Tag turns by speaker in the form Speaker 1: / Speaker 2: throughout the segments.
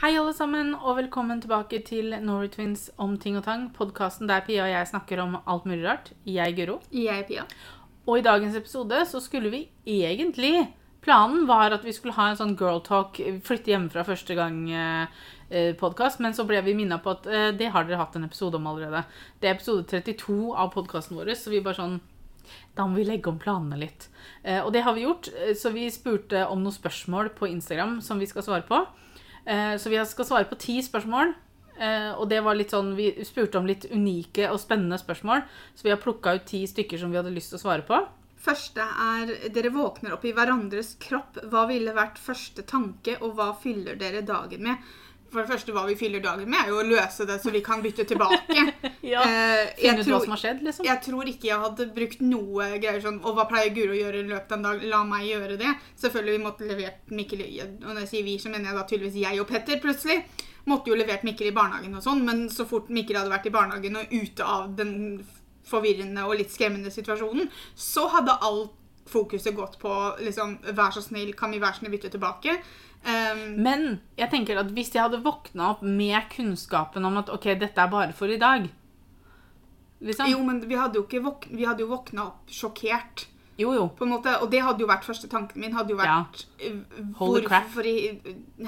Speaker 1: Hei alle sammen, og velkommen tilbake til Norwitwins om ting og tang, podkasten der Pia og jeg snakker om alt mulig rart. Jeg, Guro.
Speaker 2: Jeg, Pia.
Speaker 1: Og i dagens episode så skulle vi egentlig Planen var at vi skulle ha en sånn girl talk, flytte hjemmefra første gang-podkast, men så ble vi minna på at eh, det har dere hatt en episode om allerede. Det er episode 32 av podkasten vår, så vi bare sånn Da må vi legge om planene litt. Eh, Og det har vi gjort, eh, så vi spurte om noen spørsmål på Instagram som vi skal svare på. Eh, Så vi skal svare på ti spørsmål. Eh, Og det var litt sånn, vi spurte om litt unike og spennende spørsmål, så vi har plukka ut ti stykker som vi hadde lyst til å svare på.
Speaker 2: Første er dere våkner opp i hverandres kropp. Hva ville vært første tanke, og hva fyller dere dagen med? For det første, hva vi fyller dagen med, er jo å løse det så vi kan bytte tilbake.
Speaker 1: Ja,
Speaker 2: Eh, jeg
Speaker 1: Finne ut hva
Speaker 2: tror-
Speaker 1: som har skjedd, liksom.
Speaker 2: Jeg tror ikke jeg hadde brukt noe greier sånn Og hva pleier Guro å gjøre i løpet av en dag? La meg gjøre det. Selvfølgelig vi måtte levert Mikkel i- Og når jeg sier vi, så mener jeg da tydeligvis jeg og Petter, plutselig. Måtte jo levert Mikkel i barnehagen og sånn, men så fort Mikkel hadde vært i barnehagen og ute av den forvirrende og litt skremmende situasjonen, så hadde alt fokuset gått på liksom Vær så snill, kan vi vær så snill bytte tilbake? Um,
Speaker 1: Men jeg tenker at hvis jeg hadde våkna opp med kunnskapen om at ok, dette er bare for i dag liksom.
Speaker 2: jo, men vi hadde jo ikke våk vi hadde jo våkna opp sjokkert.
Speaker 1: Jo, jo.
Speaker 2: på en måte, Og det hadde jo vært første tanken min. hadde jo vært eh,
Speaker 1: Holy crap.
Speaker 2: Hvorfor i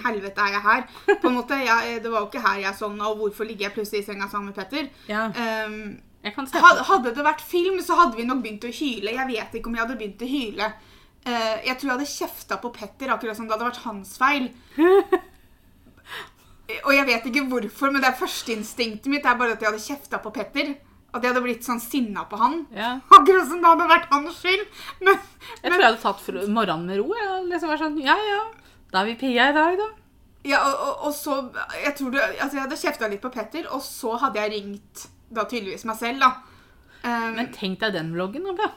Speaker 2: helvete er jeg her? På en måte, jeg, Det var jo ikke her jeg sovna, og hvorfor ligger jeg plutselig i senga sammen med Petter?
Speaker 1: Ja,
Speaker 2: Ehm,
Speaker 1: jeg kan se på
Speaker 2: had- hadde det vært film, så hadde vi nok begynt å hyle. Jeg vet ikke om jeg hadde begynt å hyle. Eh, jeg tror jeg hadde kjefta på Petter, akkurat som det hadde vært hans feil. Eh, Og jeg vet ikke hvorfor, men det er førsteinstinktet mitt er bare at jeg hadde kjefta på Petter. At jeg hadde blitt sånn sinna på han.
Speaker 1: ja.
Speaker 2: Akkurat som det hadde vært hans skyld. Men,
Speaker 1: Jeg tror jeg hadde tatt fro- morgenen med ro. Jeg hadde liksom vært sånn, ja, ja, da er vi Pia i dag, da.
Speaker 2: Ja, og, og, og så Jeg tror du, altså jeg hadde kjefta litt på Petter, og så hadde jeg ringt da tydeligvis meg selv, da. Um,
Speaker 1: Men tenk deg den vloggen, da. Bra.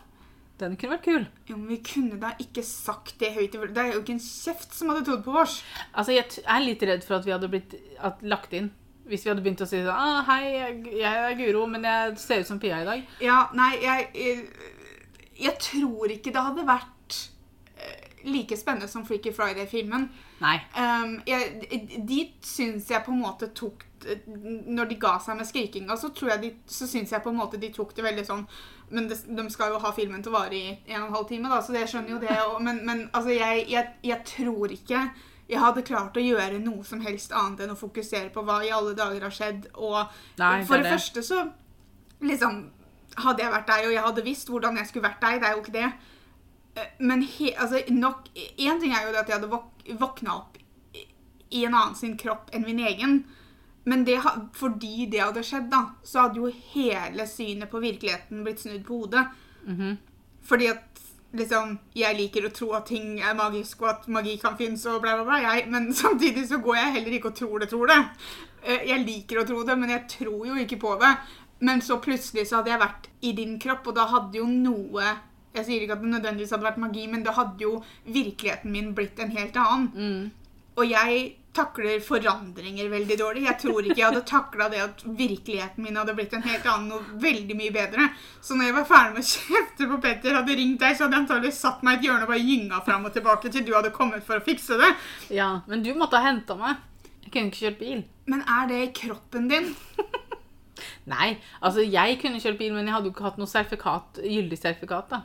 Speaker 1: Den kunne vært kul.
Speaker 2: jo, men vi kunne da ikke sagt det høyt. i vår- Det er jo ikke en kjeft som hadde trodd på vårs.
Speaker 1: Altså, jeg t- er litt redd for at vi hadde blitt at, lagt inn. Hvis vi hadde begynt å si sånn ah, 'Hei, jeg, jeg er Guro, men jeg ser ut som Pia i dag'.
Speaker 2: Ja, nei, jeg, jeg Jeg tror ikke det hadde vært eh, like spennende som Freaky Friday-filmen.
Speaker 1: Nei.
Speaker 2: Um, jeg, de syns jeg på en måte tok Når de ga seg med skrikinga, så, tror jeg de, så syns jeg på en måte de tok det veldig sånn Men det, de skal jo ha filmen til å vare i en og en halv time, da, så det skjønner jo det. Og, men men altså, jeg, jeg, jeg tror ikke jeg hadde klart å gjøre noe som helst annet enn å fokusere på hva i alle dager har skjedd. Og
Speaker 1: Nei, det
Speaker 2: for
Speaker 1: er
Speaker 2: det,
Speaker 1: det.
Speaker 2: første så liksom Hadde jeg vært deg, og jeg hadde visst hvordan jeg skulle vært deg, det er jo ikke det. Eh, Men he, altså, nok Én ting er jo det at jeg hadde våk, våkna opp i- i en annen sin kropp enn min egen. Men det, ha- fordi det hadde skjedd, da, så hadde jo hele synet på virkeligheten blitt snudd på hodet.
Speaker 1: Mhm.
Speaker 2: Fordi at liksom Jeg liker å tro at ting er magisk, og at magi kan finnes, og bla, bla, bla, jeg. Men samtidig så går jeg heller ikke og tror det, tror det. Eh, Jeg liker å tro det, men jeg tror jo ikke på det. Men så plutselig så hadde jeg vært i din kropp, og da hadde jo noe Jeg sier ikke at det nødvendigvis hadde vært magi, men da hadde jo virkeligheten min blitt en helt annen.
Speaker 1: Mm.
Speaker 2: Og jeg takler forandringer veldig dårlig. Jeg tror ikke jeg hadde takla det at virkeligheten min hadde blitt en helt annen og veldig mye bedre. Så når jeg var ferdig med å kjefte på Petter, hadde ringt deg, så hadde jeg antakelig satt meg i et hjørne og bare gynga fram og tilbake til du hadde kommet for å fikse det.
Speaker 1: Ja, men du måtte ha henta meg. Jeg kunne ikke kjørt bil.
Speaker 2: Men er det i kroppen din?
Speaker 1: Nei, altså jeg kunne kjørt bil, men jeg hadde jo ikke hatt noe sertifikat, gyldig sertifikat, da.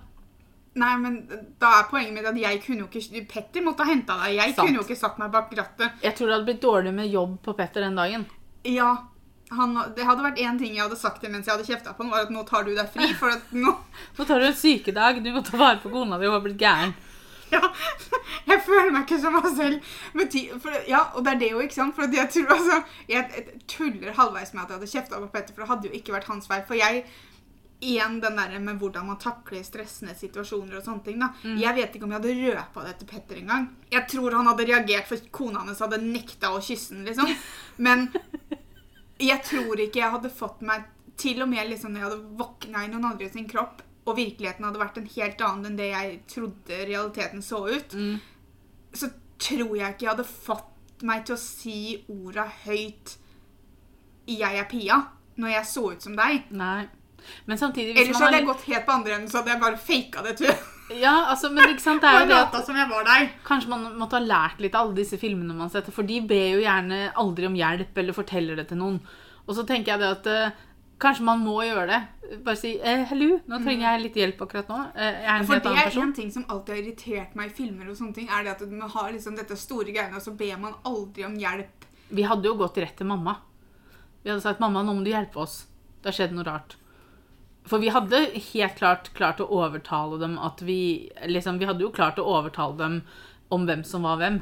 Speaker 2: Nei, men da er poenget mitt at jeg kunne jo ikke Petter måtte ha henta deg. Jeg
Speaker 1: Sant.
Speaker 2: kunne jo ikke satt meg bak rattet.
Speaker 1: Jeg tror det hadde blitt dårlig med jobb på Petter den dagen.
Speaker 2: Ja, han, det hadde vært én ting jeg hadde sagt til mens jeg hadde kjefta på han, var at nå tar du deg fri, for at nå
Speaker 1: Nå tar du en sykedag, du må ta vare på kona di, hun har blitt gæren.
Speaker 2: Ja, jeg føler meg ikke som meg selv. Men ti, for, ja, og det er det jo, ikke sant? For at jeg tror altså, jeg, jeg tuller halvveis med at jeg hadde kjefta på Petter, for det hadde jo ikke vært hans feil. For jeg, igjen den der med hvordan man takler stressende situasjoner og sånne ting, da. Jeg vet ikke om jeg hadde røpa det til Petter engang. Jeg tror han hadde reagert for kona hans hadde nekta å kysse den, liksom. Men jeg tror ikke jeg hadde fått meg Til og med liksom når jeg hadde våkna i noen andre sin kropp, og virkeligheten hadde vært en helt annen enn det jeg trodde realiteten så ut,
Speaker 1: Mm.
Speaker 2: så tror jeg ikke jeg hadde fått meg til å si orda høyt 'Jeg er Pia', når jeg så ut som deg.
Speaker 1: Nei. Men samtidig, hvis
Speaker 2: Ellers
Speaker 1: man
Speaker 2: hadde
Speaker 1: har
Speaker 2: jeg
Speaker 1: litt,
Speaker 2: gått helt på andre enden, så hadde jeg bare faka det til
Speaker 1: Ja, altså, men ikke sant, det er
Speaker 2: Jeg
Speaker 1: jo det at
Speaker 2: lata som jeg var deg.
Speaker 1: Kanskje man måtte ha lært litt av alle disse filmene man setter, for de ber jo gjerne aldri om hjelp eller forteller det til noen. Og så tenker jeg det at eh, kanskje man må gjøre det. Bare si eh, 'hello, nå trenger jeg litt hjelp akkurat nå'. Eh, jeg er en
Speaker 2: For
Speaker 1: helt
Speaker 2: det
Speaker 1: annen
Speaker 2: er
Speaker 1: person.
Speaker 2: en ting som alltid har irritert meg i filmer, og sånne ting, er det at man har liksom dette store greiene, og så ber man aldri om hjelp.
Speaker 1: Vi hadde jo gått rett til mamma. Vi hadde sagt 'mamma, nå må du hjelpe oss'. Det har skjedd noe rart. For vi hadde helt klart klart å overtale dem at vi liksom, Vi hadde jo klart å overtale dem om hvem som var hvem.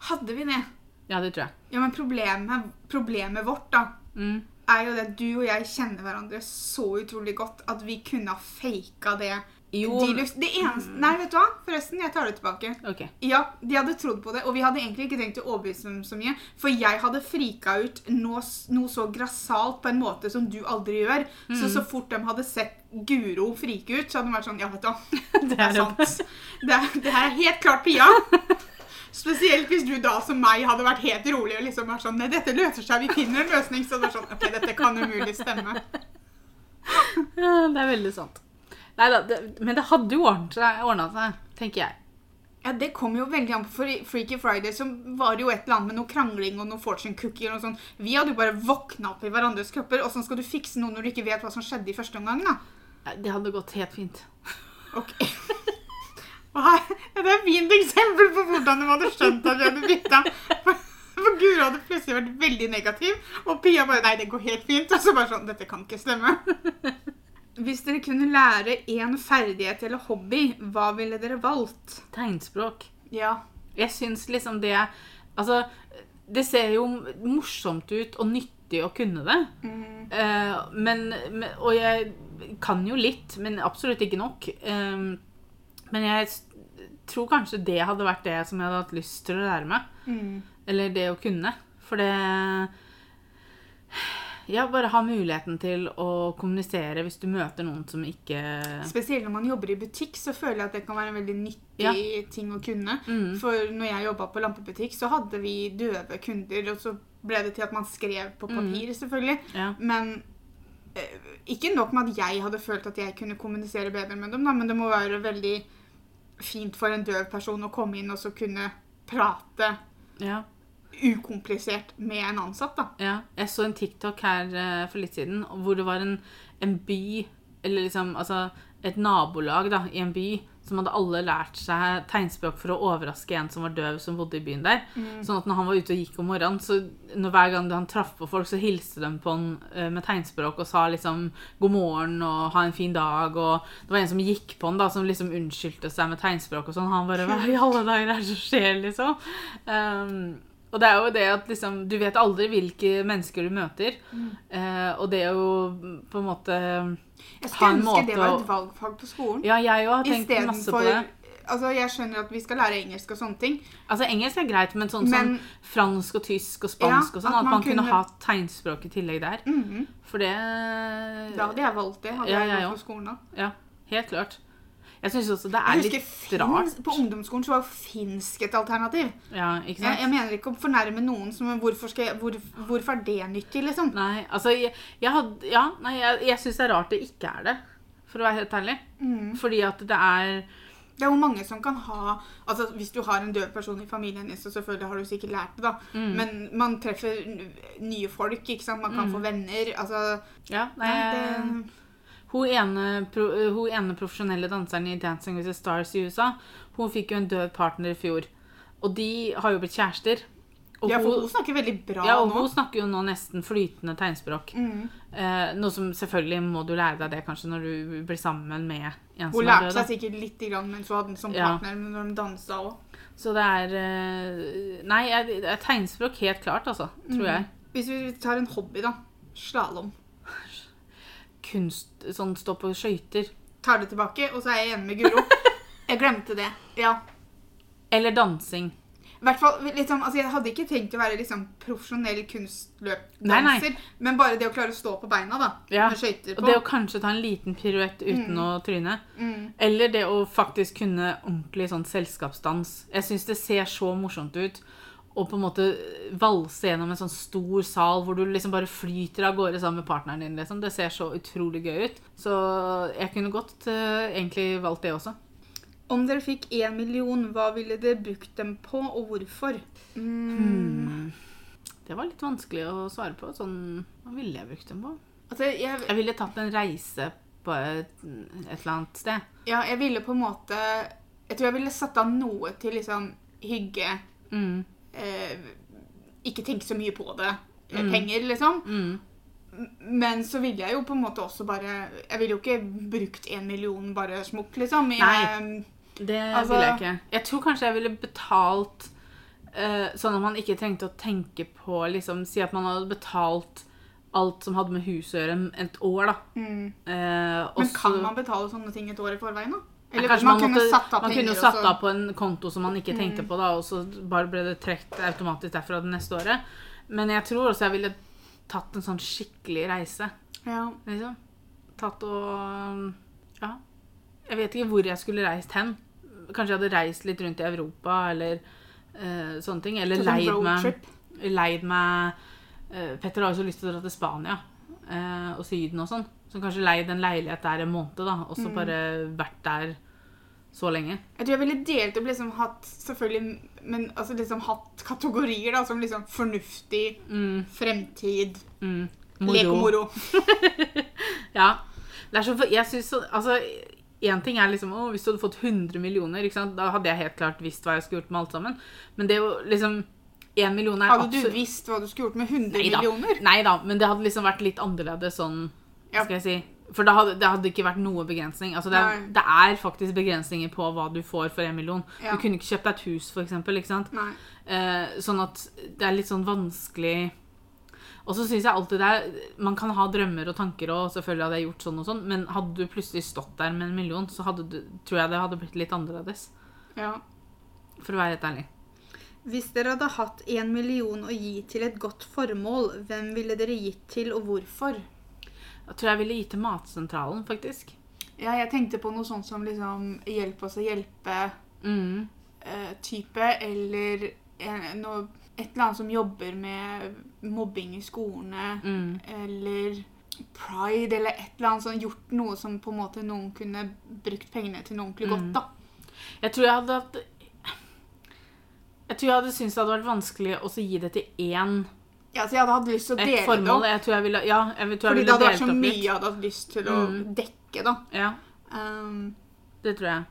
Speaker 2: Hadde vi det?
Speaker 1: Ja, det tror jeg.
Speaker 2: Ja, men problemet, problemet vårt, da,
Speaker 1: Mm.
Speaker 2: er jo det at du og jeg kjenner hverandre så utrolig godt at vi kunne ha faka det.
Speaker 1: Jo,
Speaker 2: De, lyst- det eneste Nei, vet du hva? Forresten, jeg tar det tilbake.
Speaker 1: OK.
Speaker 2: Ja, de hadde trodd på det, og vi hadde egentlig ikke tenkt å overbevise dem så mye. For jeg hadde frika ut noe, s- noe så grassat på en måte som du aldri gjør. Så så fort de hadde sett Guro frike ut, så hadde de vært sånn Ja, vet du hva.
Speaker 1: Det
Speaker 2: Det er sant. Det, er- det her er helt klart Pia. Spesielt hvis du da som meg hadde vært helt rolig og liksom vært sånn Nei, dette løser seg, vi finner en løsning. Så det var sånn Ok, dette kan umulig stemme.
Speaker 1: Ja, det er veldig sant. Neida, det, men det hadde jo ordnet seg- ordnet seg, tenker jeg.
Speaker 2: Ja, Det kom jo veldig an på for i Freaky Friday, som var det jo et eller annet med noe krangling og noe fortune cookie og noe sånt. Vi hadde jo bare våkna opp i hverandres kropper, og sånn skal du fikse noe når du ikke vet hva som skjedde i første omgang, da.
Speaker 1: Ja, Det hadde gått helt fint.
Speaker 2: Ok. Og her, ja, det er et fint eksempel på hvordan de hadde skjønt at vi hadde bytta. For, for Guro hadde plutselig vært veldig negativ, og Pia bare Nei, det går helt fint. Og så bare sånn Dette kan ikke stemme. Hvis dere kunne lære én ferdighet eller hobby, hva ville dere valgt?
Speaker 1: Tegnspråk.
Speaker 2: Ja.
Speaker 1: Jeg syns liksom det Altså, det ser jo morsomt ut og nyttig å kunne det.
Speaker 2: Mm,
Speaker 1: Eh, men, men Og jeg kan jo litt, men absolutt ikke nok. Eh, men jeg s- tror kanskje det hadde vært det som jeg hadde hatt lyst til å lære meg.
Speaker 2: mm.
Speaker 1: Eller det å kunne. For det Ja, bare ha muligheten til å kommunisere hvis du møter noen som ikke
Speaker 2: Spesielt når man jobber i butikk, så føler jeg at det kan være en veldig nyttig
Speaker 1: Ja. Mm.
Speaker 2: ting å kunne. For når jeg jobba på lampebutikk, så hadde vi døve kunder, og så ble det til at man skrev
Speaker 1: Mm.
Speaker 2: på papir, selvfølgelig.
Speaker 1: Ja.
Speaker 2: Men eh, ikke nok med at jeg hadde følt at jeg kunne kommunisere bedre med dem, da, men det må være veldig fint for en døv person å komme inn og så kunne prate
Speaker 1: ja.
Speaker 2: ukomplisert med en ansatt, da.
Speaker 1: Ja, jeg så en TikTok her eh, for litt siden, hvor det var en, en by, eller liksom, altså et nabolag da, i en by, som hadde alle lært seg tegnspråk for å overraske en som var døv som bodde i byen der. Sånn at når han var ute og gikk om morgenen, så når hver gang han traff på folk, så hilste de på han eh, med tegnspråk og sa liksom god morgen og ha en fin dag, og det var en som gikk på han da, som liksom unnskyldte seg med tegnspråk og sånn, han bare, hva i alle dager er det som skjer, liksom? Ehm, og det er jo det at liksom, du vet aldri hvilke mennesker du møter.
Speaker 2: Mm.
Speaker 1: Eh, og det er jo på en måte
Speaker 2: Jeg
Speaker 1: Ha
Speaker 2: skulle
Speaker 1: en
Speaker 2: ønske
Speaker 1: måte
Speaker 2: det var
Speaker 1: å-
Speaker 2: et valgfag på skolen.
Speaker 1: Ja, jeg òg har tenkt masse på
Speaker 2: Istedenfor
Speaker 1: det.
Speaker 2: Altså, jeg skjønner at vi skal lære engelsk og sånne ting,
Speaker 1: Altså Engelsk er greit, men sånn
Speaker 2: Men-
Speaker 1: som fransk og tysk og spansk
Speaker 2: Ja,
Speaker 1: og sånn,
Speaker 2: at
Speaker 1: at man,
Speaker 2: man
Speaker 1: kunne
Speaker 2: kunne-
Speaker 1: ha tegnspråk i tillegg der.
Speaker 2: Mhm.
Speaker 1: For det
Speaker 2: Da hadde jeg valgt det.
Speaker 1: Mm.
Speaker 2: hadde
Speaker 1: Ja,
Speaker 2: jeg
Speaker 1: jeg
Speaker 2: gått
Speaker 1: også.
Speaker 2: på skolen da.
Speaker 1: Ja, helt klart. Jeg syns også det er
Speaker 2: Jeg husker
Speaker 1: litt
Speaker 2: finsk,
Speaker 1: rart.
Speaker 2: På ungdomsskolen så var jo finsk et alternativ.
Speaker 1: Ja, ikke
Speaker 2: Jeg,
Speaker 1: sant?
Speaker 2: jeg mener ikke å fornærme noen som hvorfor, skal jeg, hvor, hvorfor er det nyttig, liksom?
Speaker 1: Nei, altså jeg, jeg hadde, Ja, nei, jeg, jeg syns det er rart det ikke er det. For å være helt ærlig. Fordi at det er
Speaker 2: Mm. Det er jo mange som kan ha Altså Hvis du har en døv person i familien din, så selvfølgelig har du sikkert lært det, da.
Speaker 1: Mm.
Speaker 2: Men man treffer n- nye folk, ikke sant. Man kan få venner. Altså
Speaker 1: Ja, Mm. nei,
Speaker 2: nei,
Speaker 1: jeg-
Speaker 2: det,
Speaker 1: Hun ene, pro, eh, hun ene profesjonelle danseren i Dancing with the Stars i USA, hun fikk jo en døv partner i fjor. Og de har jo blitt kjærester. Og
Speaker 2: Ja, for
Speaker 1: hun,
Speaker 2: hun snakker veldig bra
Speaker 1: ja, og
Speaker 2: nå. Mm.
Speaker 1: hun snakker jo nå nesten flytende tegnspråk. Eh, noe som selvfølgelig må du lære deg det kanskje når du blir sammen med en
Speaker 2: Hun
Speaker 1: som er
Speaker 2: lærte
Speaker 1: død. da.
Speaker 2: seg sikkert lite grann mens hun hadde den som
Speaker 1: Ja.
Speaker 2: partner, men når de dansa òg.
Speaker 1: Så det er eh, Nei, jeg- det er tegnspråk helt klart, altså. Tror jeg.
Speaker 2: Hvis vi tar en hobby, da. Slalåm.
Speaker 1: Kunst Sånn stå på skøyter.
Speaker 2: tar det tilbake, og så er jeg enig med Guro. Jeg glemte det. Ja.
Speaker 1: Eller dansing.
Speaker 2: I hvert fall, litt sånn, altså Jeg hadde ikke tenkt å være liksom profesjonell
Speaker 1: Nei, nei.
Speaker 2: kunstløpdanser, men bare det å klare å stå på beina da,
Speaker 1: Ja.
Speaker 2: med skøyter
Speaker 1: Og
Speaker 2: på. Mm.
Speaker 1: det å kanskje ta en liten piruett uten å tryne. Eller det å faktisk kunne ordentlig sånn selskapsdans. Jeg syns det ser så morsomt ut å på en måte valse gjennom en sånn stor sal hvor du liksom bare flyter av gårde sammen med partneren din. Liksom. Det ser så utrolig gøy ut. Så jeg kunne godt eh, egentlig valgt det også.
Speaker 2: Om dere fikk én million, hva ville dere brukt dem på, og hvorfor? Mm.
Speaker 1: Det var litt vanskelig å svare på. Sånn, hva ville jeg brukt dem på?
Speaker 2: Altså, jeg,
Speaker 1: Jeg ville tatt en reise på et, et eller annet sted.
Speaker 2: ja, jeg ville på en måte Jeg tror jeg ville satt av noe til liksom hygge.
Speaker 1: Mm.
Speaker 2: Eh, ikke tenke så mye på det. eh, Penger, liksom.
Speaker 1: Mm.
Speaker 2: Men så ville jeg jo på en måte også bare Jeg ville jo ikke brukt én million bare smokk, liksom. Jeg,
Speaker 1: Nei. Det
Speaker 2: Altså-
Speaker 1: ville jeg ikke. Jeg tror kanskje jeg ville betalt eh, sånn at man ikke trengte å tenke på liksom, Si at man hadde betalt alt som hadde med huset å gjøre, en- et år, da.
Speaker 2: Mm.
Speaker 1: Eh, og
Speaker 2: Men kan
Speaker 1: så-
Speaker 2: man betale sånne ting et år i forveien, da?
Speaker 1: Ja,
Speaker 2: Eller
Speaker 1: kanskje
Speaker 2: man, kunne
Speaker 1: måtte-
Speaker 2: satt av
Speaker 1: man
Speaker 2: penger Mm.
Speaker 1: kunne jo
Speaker 2: og
Speaker 1: satt
Speaker 2: så-
Speaker 1: av på en konto som man ikke tenkte på, da, og så bare ble det trukket automatisk derfra det neste året. Men jeg tror også jeg ville tatt en sånn skikkelig reise.
Speaker 2: Ja.
Speaker 1: Liksom. Tatt og Ja. Jeg vet ikke hvor jeg skulle reist hen. Kanskje jeg hadde reist litt rundt i Europa eller eh, sånne ting. Eller
Speaker 2: Sånn
Speaker 1: leid meg,
Speaker 2: roadtrip.
Speaker 1: leid meg eh, Petter har jo så lyst til å dra til Spania eh, og Syden og sånn. Så kanskje leid en leilighet der en måned, da. Og så bare vært der så lenge.
Speaker 2: Jeg tror jeg ville delt opp liksom hatt selvfølgelig, men altså liksom hatt kategorier da, som liksom fornuftig,
Speaker 1: Mm,
Speaker 2: fremtid,
Speaker 1: mm.
Speaker 2: lek og moro.
Speaker 1: Ja. Det er så, jeg synes, så- altså, en ting er liksom, å, hvis du hadde fått 100 millioner, ikke sant? da hadde jeg helt klart visst hva jeg skulle gjort med alt sammen. Men det er jo liksom, en million er
Speaker 2: Hadde
Speaker 1: absolutt...
Speaker 2: du visst hva du skulle gjort med 100
Speaker 1: Neida.
Speaker 2: millioner?
Speaker 1: Neida, men det hadde liksom vært litt annerledes sånn,
Speaker 2: Ja.
Speaker 1: skal jeg si. For da hadde, det hadde ikke vært noe begrensning. Altså, det, er,
Speaker 2: Nei.
Speaker 1: det er faktisk begrensninger på hva du får for en million.
Speaker 2: Ja.
Speaker 1: Du kunne ikke kjøpt deg et hus, for eksempel, ikke sant?
Speaker 2: Nei.
Speaker 1: Eh, sånn at det er litt sånn vanskelig Og så syns jeg alltid det er Man kan ha drømmer og tanker og selvfølgelig hadde jeg gjort sånn og sånn, men hadde du plutselig stått der med en million, så hadde du, tror jeg det hadde blitt litt annerledes.
Speaker 2: Ja.
Speaker 1: For å være helt ærlig.
Speaker 3: Hvis dere hadde hatt en million å gi til et godt formål, hvem ville dere gitt til, og hvorfor?
Speaker 1: Jeg tror jeg ville gitt til Matsentralen, faktisk.
Speaker 2: ja, jeg tenkte på noe sånt som liksom hjelp oss å hjelpe-type,
Speaker 1: Mm.
Speaker 2: eller eh, noe, et eller annet som jobber med mobbing i skolene,
Speaker 1: Mm.
Speaker 2: eller pride, eller et eller annet sånn, gjort noe som på en måte noen kunne brukt pengene til noe ordentlig
Speaker 1: Mm.
Speaker 2: godt, da.
Speaker 1: Jeg tror jeg hadde hatt Jeg tror jeg hadde syntes det hadde vært vanskelig å så gi det til én
Speaker 2: Ja, så jeg hadde hatt lyst til å
Speaker 1: et
Speaker 2: dele det
Speaker 1: formål.
Speaker 2: opp.
Speaker 1: Jeg tror jeg ville, ja, jeg tror jeg
Speaker 2: Fordi det
Speaker 1: ville
Speaker 2: hadde vært
Speaker 1: delt
Speaker 2: så
Speaker 1: opp
Speaker 2: mye
Speaker 1: litt.
Speaker 2: jeg hadde hatt lyst til å
Speaker 1: Mm.
Speaker 2: dekke, da.
Speaker 1: Ja.
Speaker 2: Um,
Speaker 1: Det tror jeg.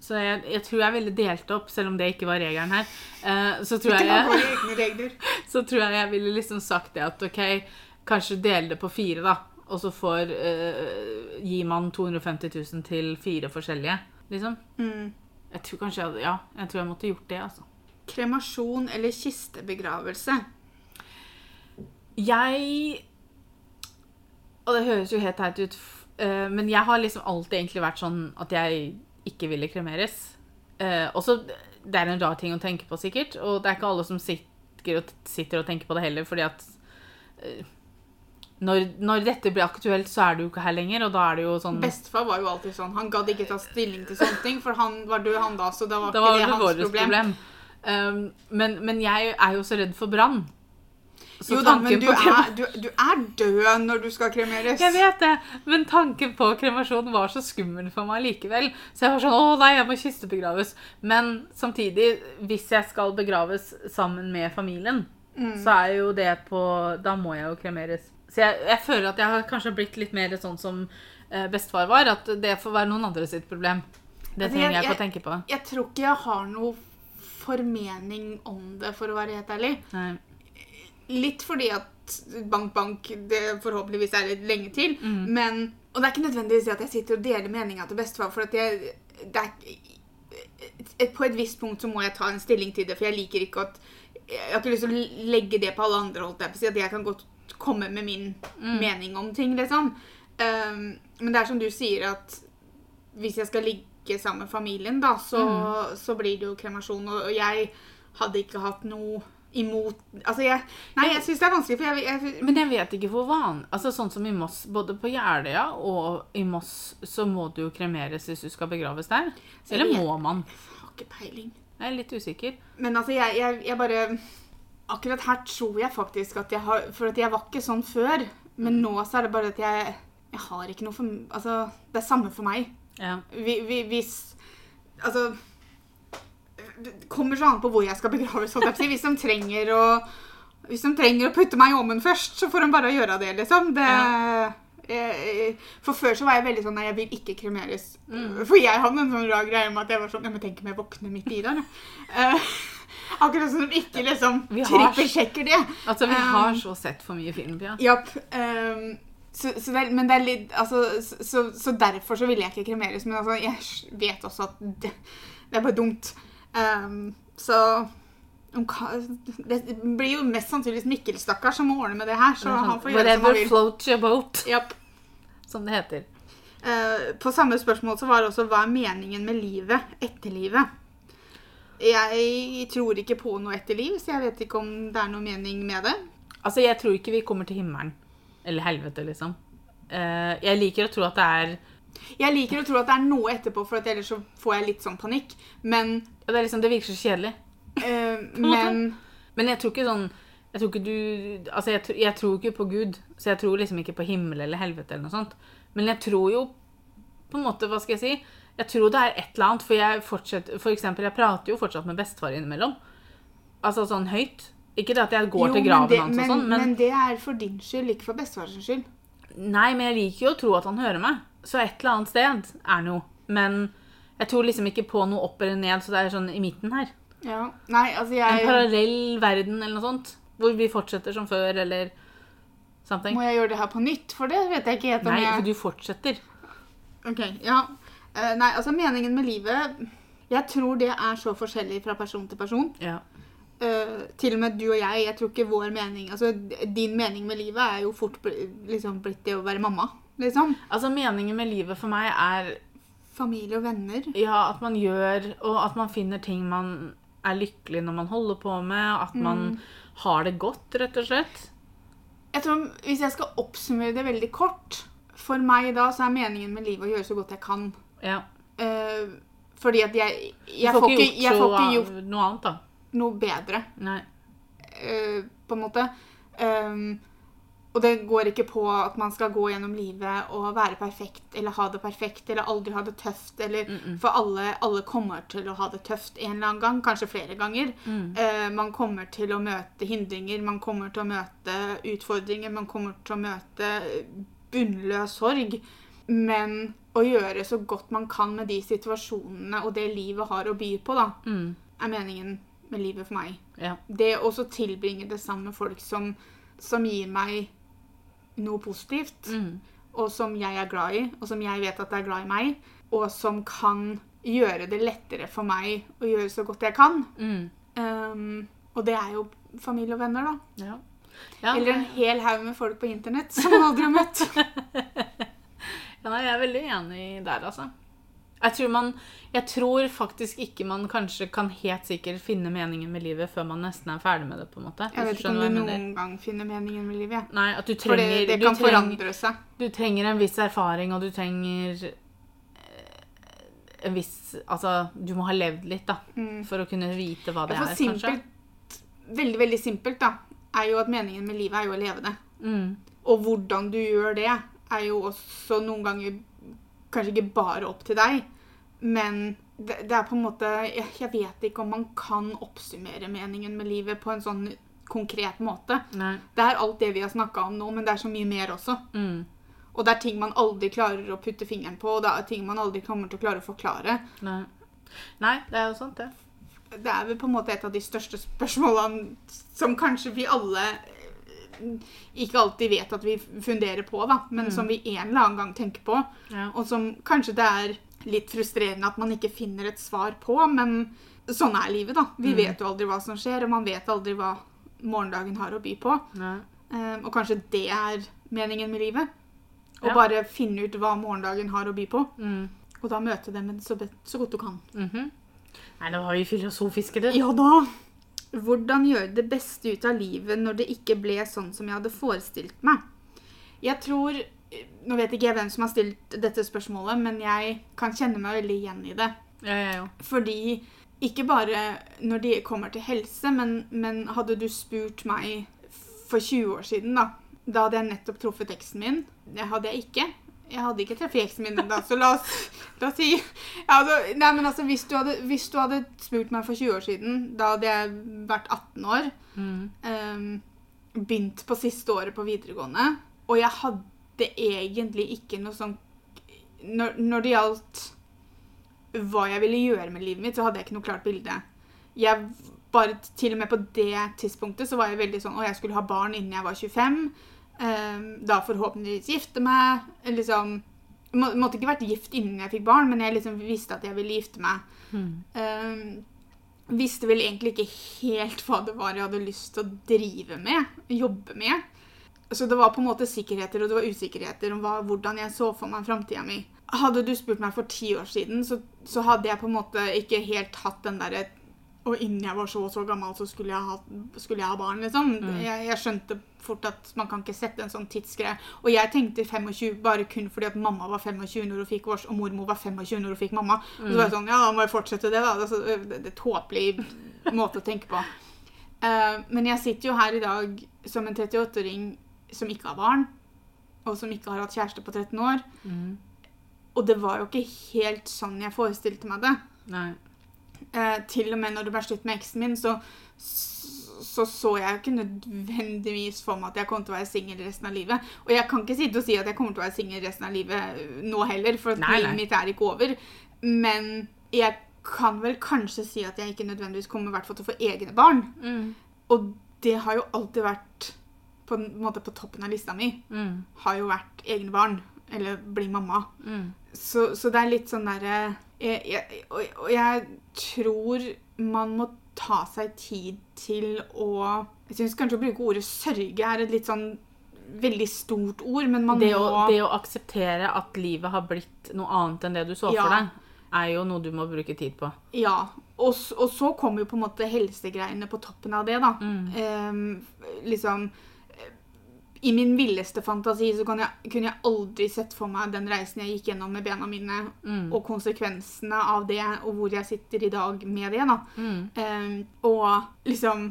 Speaker 1: Så jeg, jeg tror jeg ville delt opp, selv om det ikke var regelen her. Eh, så, tror
Speaker 2: ikke
Speaker 1: jeg,
Speaker 2: lage
Speaker 1: jeg,
Speaker 2: våre egne regler.
Speaker 1: så tror jeg jeg ville liksom sagt det at OK, kanskje dele det på fire, da. Og så får eh, Gir man 250 000 til fire forskjellige, liksom.
Speaker 2: Mm.
Speaker 1: Jeg tror kanskje jeg hadde Ja, jeg tror jeg måtte gjort det, altså.
Speaker 2: Kremasjon eller kistebegravelse?
Speaker 1: Jeg Og det høres jo helt teit ut, f- eh, men jeg har liksom alltid egentlig vært sånn at jeg ikke ville kremeres. Eh, også, det er en rar ting å tenke på, sikkert, og det er ikke alle som sitter og, sitter og tenker på det heller, fordi at eh, når, når dette blir aktuelt, så er du jo ikke her lenger, og da er det jo sånn
Speaker 2: Bestefar var jo alltid sånn. Han gadd ikke ta stilling til sånne ting, for han var død, han da, så da var
Speaker 1: Da
Speaker 2: ikke
Speaker 1: var
Speaker 2: det
Speaker 1: det
Speaker 2: hans
Speaker 1: vårt
Speaker 2: problem.
Speaker 1: problem. Um, men, men jeg er jo så redd for brann. Så
Speaker 2: Jo da, men
Speaker 1: tanken
Speaker 2: du
Speaker 1: på krem-
Speaker 2: er, du, du er død når du skal kremeres.
Speaker 1: Jeg vet det, men tanken på kremasjon var så skummel for meg likevel. Så jeg var sånn Å nei, jeg må kistebegraves. Men samtidig, hvis jeg skal begraves sammen med familien, så er jo det på Da må jeg jo kremeres. Så jeg, jeg føler at jeg har kanskje blitt litt mer sånn som eh, bestefar var. At det får være noen andre sitt problem. Det
Speaker 2: Altså, jeg-
Speaker 1: trenger jeg ikke å
Speaker 2: jeg-
Speaker 1: tenke på.
Speaker 2: Jeg tror ikke jeg har noe formening om det, for å være helt ærlig.
Speaker 1: Nei.
Speaker 2: Litt fordi at bank, bank, det forhåpentligvis er litt lenge til.
Speaker 1: Mm.
Speaker 2: Men, og det er ikke nødvendigvis det at jeg sitter og deler meninga til bestefar. For at jeg, det er, et- på et visst punkt så må jeg ta en stilling til det, for jeg liker ikke at Jeg har ikke lyst til å legge det på alle andre, holdt jeg på å si. At jeg kan godt komme med min mening om ting, liksom. Um, men det er som du sier, at hvis jeg skal ligge sammen med familien, da, så, så blir det jo kremasjon. Og og jeg hadde ikke hatt noe imot Altså, jeg Nei, jeg syns det er vanskelig, for jeg, jeg
Speaker 1: Men jeg vet ikke hvor vanlig Altså Sånn som i Moss, både på Jeløya og i Moss, så må du jo kremeres hvis du skal begraves der.
Speaker 2: Så jeg
Speaker 1: Eller
Speaker 2: vet-
Speaker 1: må man?
Speaker 2: har ikke peiling.
Speaker 1: Jeg er litt usikker.
Speaker 2: Men altså, jeg, jeg, jeg bare Akkurat her tror jeg faktisk at jeg har For at jeg var ikke sånn før. Men nå så er det bare at jeg Jeg har ikke noe for Altså, det er samme for meg.
Speaker 1: Ja.
Speaker 2: Vi, vi, hvis Altså Det kommer så an på hvor jeg skal begraves. holdt jeg på å si. Hvis de trenger å hvis de trenger å putte meg i ommen først, så får de bare gjøre det, liksom. Det, jeg- for før så var jeg veldig sånn Nei, jeg vil ikke kremeres.
Speaker 1: Mm.
Speaker 2: For jeg hadde en sånn rar greie med at jeg var sånn Nei, men tenk om jeg våkner midt i det, da. Eh, akkurat som de ikke liksom
Speaker 1: Vi har-
Speaker 2: trippelsjekker det.
Speaker 1: Altså, vi
Speaker 2: Um,
Speaker 1: har så sett for mye film, Pia.
Speaker 2: Japp. ehm, så, så det, er- men det er litt altså, så, så, så derfor så ville jeg ikke kremeres. Men altså, jeg s- vet også at det, det er bare dumt. Ehm, så om ka- Det blir jo mest sannsynligvis Mikkel, stakkar, som må ordne med det her. Så han får gjøre som han
Speaker 1: Whatever
Speaker 2: vil.
Speaker 1: floats your boat,
Speaker 2: Japp.
Speaker 1: som det heter.
Speaker 2: Eh, på samme spørsmål så var det også hva er meningen med livet etter livet? Jeg tror ikke på noe etter liv, så jeg vet ikke om det er noe mening med det.
Speaker 1: Altså, jeg tror ikke vi kommer til himmelen. Eller helvete, liksom. Eh, jeg liker å tro at det er
Speaker 2: Jeg liker å tro at det er noe etterpå, for at ellers så får jeg litt sånn panikk. Men,
Speaker 1: ja, det, er liksom, det virker så kjedelig.
Speaker 2: eh,
Speaker 1: måte.
Speaker 2: men
Speaker 1: Men jeg tror ikke sånn Jeg tror ikke du Altså, jeg, tr- jeg tror ikke på Gud, så jeg tror liksom ikke på himmel eller helvete eller noe sånt. Men jeg tror jo på en måte Hva skal jeg si? Jeg tror det er et eller annet, for jeg fortsetter For eksempel, jeg prater jo fortsatt med bestefar innimellom. Altså sånn høyt. Ikke det at jeg går
Speaker 2: Jo,
Speaker 1: til
Speaker 2: men
Speaker 1: graven
Speaker 2: det-
Speaker 1: hans og
Speaker 2: men,
Speaker 1: sånn, men,
Speaker 2: men det er for din skyld, ikke for bestefars skyld.
Speaker 1: Nei, men jeg liker jo å tro at han hører meg. Så et eller annet sted er han jo. Men jeg tror liksom ikke på noe opp eller ned, så det er sånn i midten her.
Speaker 2: Ja. Nei, altså
Speaker 1: En
Speaker 2: jeg
Speaker 1: parallell verden eller noe sånt. Hvor vi fortsetter som før, eller something.
Speaker 2: Må jeg gjøre det her på nytt? For det vet jeg ikke helt om
Speaker 1: Nei, altså,
Speaker 2: jeg
Speaker 1: for du fortsetter.
Speaker 2: Ok, ja. Eh, nei, altså meningen med livet Jeg tror det er så forskjellig fra person til person.
Speaker 1: Ja.
Speaker 2: Eh, til og med du og jeg, jeg tror ikke vår mening Altså, d- din mening med livet er jo fort bl liksom blitt det å være mamma. Liksom.
Speaker 1: Altså, meningen med livet for meg er
Speaker 2: Familie og venner.
Speaker 1: ja, at man gjør, og at man finner ting man er lykkelig når man holder på med, at man
Speaker 2: Mm.
Speaker 1: har det godt, rett og slett.
Speaker 2: Jeg tror, Hvis jeg skal oppsummere det veldig kort For meg da så er meningen med livet å gjøre så godt jeg kan.
Speaker 1: Ja.
Speaker 2: Eh, fordi at jeg
Speaker 1: Du
Speaker 2: Jeg får ikke, jeg får ikke gjort
Speaker 1: så noe annet, da.
Speaker 2: noe bedre,
Speaker 1: Nei.
Speaker 2: eh, på en måte. Um, og det går ikke på at man skal gå gjennom livet og være perfekt eller ha det perfekt eller aldri ha det tøft. Eller, For alle, alle kommer til å ha det tøft en eller annen gang, kanskje flere ganger. Eh, man kommer til å møte hindringer, man kommer til å møte utfordringer, man kommer til å møte bunnløs sorg. Men å gjøre så godt man kan med de situasjonene og det livet har å by på, da,
Speaker 1: Mm.
Speaker 2: er meningen med livet for meg
Speaker 1: Ja.
Speaker 2: det å så tilbringe det sammen med folk som, som gir meg noe positivt,
Speaker 1: Mm.
Speaker 2: og som jeg er glad i, og som jeg vet at er glad i meg, og som kan gjøre det lettere for meg å gjøre så godt jeg kan.
Speaker 1: Mm.
Speaker 2: Ehm, og det er jo familie og venner, da.
Speaker 1: Ja. Ja,
Speaker 2: Eller en hel haug med folk på internett som man aldri har møtt.
Speaker 1: ja, nei, jeg er veldig enig der, altså. Jeg tror, man, jeg tror faktisk ikke man kanskje kan helt sikkert finne meningen med livet før man nesten er ferdig med det, på en måte.
Speaker 2: Jeg
Speaker 1: Hvis
Speaker 2: vet
Speaker 1: du
Speaker 2: ikke om
Speaker 1: skjønner
Speaker 2: du
Speaker 1: hva jeg mener.
Speaker 2: noen gang finner meningen med livet. jeg.
Speaker 1: Nei, at du
Speaker 2: For
Speaker 1: trenger,
Speaker 2: det, det
Speaker 1: du,
Speaker 2: kan
Speaker 1: trenger,
Speaker 2: forandre seg.
Speaker 1: du trenger en viss erfaring, og du trenger eh, en viss Altså, du må ha levd litt, da,
Speaker 2: Mm.
Speaker 1: for å kunne vite hva det
Speaker 2: For
Speaker 1: er, kanskje.
Speaker 2: simpelt, veldig, veldig simpelt, da, er jo at meningen med livet er jo å leve det.
Speaker 1: Mm.
Speaker 2: Og hvordan du gjør det, er jo også noen ganger kanskje ikke bare opp til deg, men det, det er på en måte jeg, jeg vet ikke om man kan oppsummere meningen med livet på en sånn konkret måte.
Speaker 1: Nei.
Speaker 2: Det er alt det vi har snakka om nå, men det er så mye mer også.
Speaker 1: Mm.
Speaker 2: Og det er ting man aldri klarer å putte fingeren på, og det er ting man aldri kommer til å klare å forklare.
Speaker 1: Nei. Nei, det er jo sant, det.
Speaker 2: Det er vel på en måte et av de største spørsmålene som kanskje vi alle eh, ikke alltid vet at vi funderer på, da, men som vi en eller annen gang tenker på.
Speaker 1: Ja.
Speaker 2: Og som kanskje det er litt frustrerende at man ikke finner et svar på, men sånn er livet, da. Vi vet jo aldri hva som skjer, og man vet aldri hva morgendagen har å by på.
Speaker 1: Nei.
Speaker 2: Eh, og kanskje det er meningen med livet? Å
Speaker 1: Ja.
Speaker 2: bare finne ut hva morgendagen har å by på,
Speaker 1: Mm.
Speaker 2: og da møte dem så, be- så godt du kan.
Speaker 1: Mhm. Nei, nå var vi filosofiske, du.
Speaker 2: Ja da!
Speaker 3: Hvordan gjøre det beste ut av livet når det ikke ble sånn som jeg hadde forestilt meg?
Speaker 2: Jeg tror eh, Nå vet ikke jeg hvem som har stilt dette spørsmålet, men jeg kan kjenne meg veldig igjen i det.
Speaker 1: Ja, ja, ja.
Speaker 2: Fordi ikke bare når det kommer til helse, men, men hadde du spurt meg for 20 år siden, da Da hadde jeg nettopp truffet eksen min. Det hadde jeg ikke. Jeg hadde ikke trafikkeksen min da, så la oss, la oss si ja, altså, Nei, men altså, hvis du, hadde, hvis du hadde spurt meg for 20 år siden, da hadde jeg vært 18 år,
Speaker 1: Mm.
Speaker 2: ehm, begynt på siste året på videregående, og jeg hadde egentlig ikke noe sånn når, når det gjaldt hva jeg ville gjøre med livet mitt, så hadde jeg ikke noe klart bilde. Jeg bare, til og med på det tidspunktet så var jeg veldig sånn, og jeg skulle ha barn innen jeg var 25, ehm, da forhåpentligvis gifte meg, liksom, må, måtte ikke vært gift innen jeg fikk barn, men jeg liksom visste at jeg ville gifte meg.
Speaker 1: Mm.
Speaker 2: Ehm, visste vel egentlig ikke helt hva det var jeg hadde lyst til å drive med, jobbe med. Så det var på en måte sikkerheter og det var usikkerheter om hva, hvordan jeg så for meg framtida mi. Hadde du spurt meg for ti år siden, så, så hadde jeg på en måte ikke helt hatt den derre Og innen jeg var så og så gammel, så skulle jeg ha, skulle jeg ha barn, liksom.
Speaker 1: Mm.
Speaker 2: Jeg, jeg skjønte fort at man kan ikke sette en sånn tidsgreie. Og jeg tenkte 25 bare kun fordi at mamma var 25 når hun fikk vårs, og mormor var 25 når hun fikk mamma. Og så var jeg sånn, ja, da må jeg fortsette det da. Det er så- Det det er tåpelig måte å tenke på. Eh, men jeg sitter jo her i dag som en 38-åring som ikke har barn, og som ikke har hatt kjæreste på 13 år.
Speaker 1: Mm.
Speaker 2: Og det var jo ikke helt sånn jeg forestilte meg det.
Speaker 1: Nei.
Speaker 2: Eh, til og med når det ble slutt med eksen min, så så, så jeg jo ikke nødvendigvis for meg at jeg kom til å være singel resten av livet. Og jeg kan ikke sitte og si at jeg kommer til å være singel resten av livet øh, nå heller, for at
Speaker 1: Nei, nei.
Speaker 2: livet mitt er ikke over. Men jeg kan vel kanskje si at jeg ikke nødvendigvis kommer i hvert fall til å få egne barn.
Speaker 1: Mm.
Speaker 2: Og det har jo alltid vært på en måte på toppen av lista mi.
Speaker 1: Mm.
Speaker 2: Har jo vært egne barn. Eller bli mamma.
Speaker 1: Mm.
Speaker 2: Så, så det er litt sånn derre jeg- jeg- og, og jeg tror man må ta seg tid til å Jeg syns kanskje å bruke ordet sørge er et litt sånn veldig stort ord, men man
Speaker 1: Det å,
Speaker 2: må
Speaker 1: det å akseptere at livet har blitt noe annet enn det du så
Speaker 2: Ja.
Speaker 1: for deg, er jo noe du må bruke tid på.
Speaker 2: Ja. Og, s- og så kommer jo på en måte helsegreiene på toppen av det, da.
Speaker 1: Mm.
Speaker 2: Eh, liksom eh, I min villeste fantasi så kan jeg, kunne jeg aldri sett for meg den reisen jeg gikk gjennom med bena mine,
Speaker 1: Mm.
Speaker 2: og konsekvensene av det, og hvor jeg sitter i dag med det, da.
Speaker 1: Mm.
Speaker 2: Eh, og liksom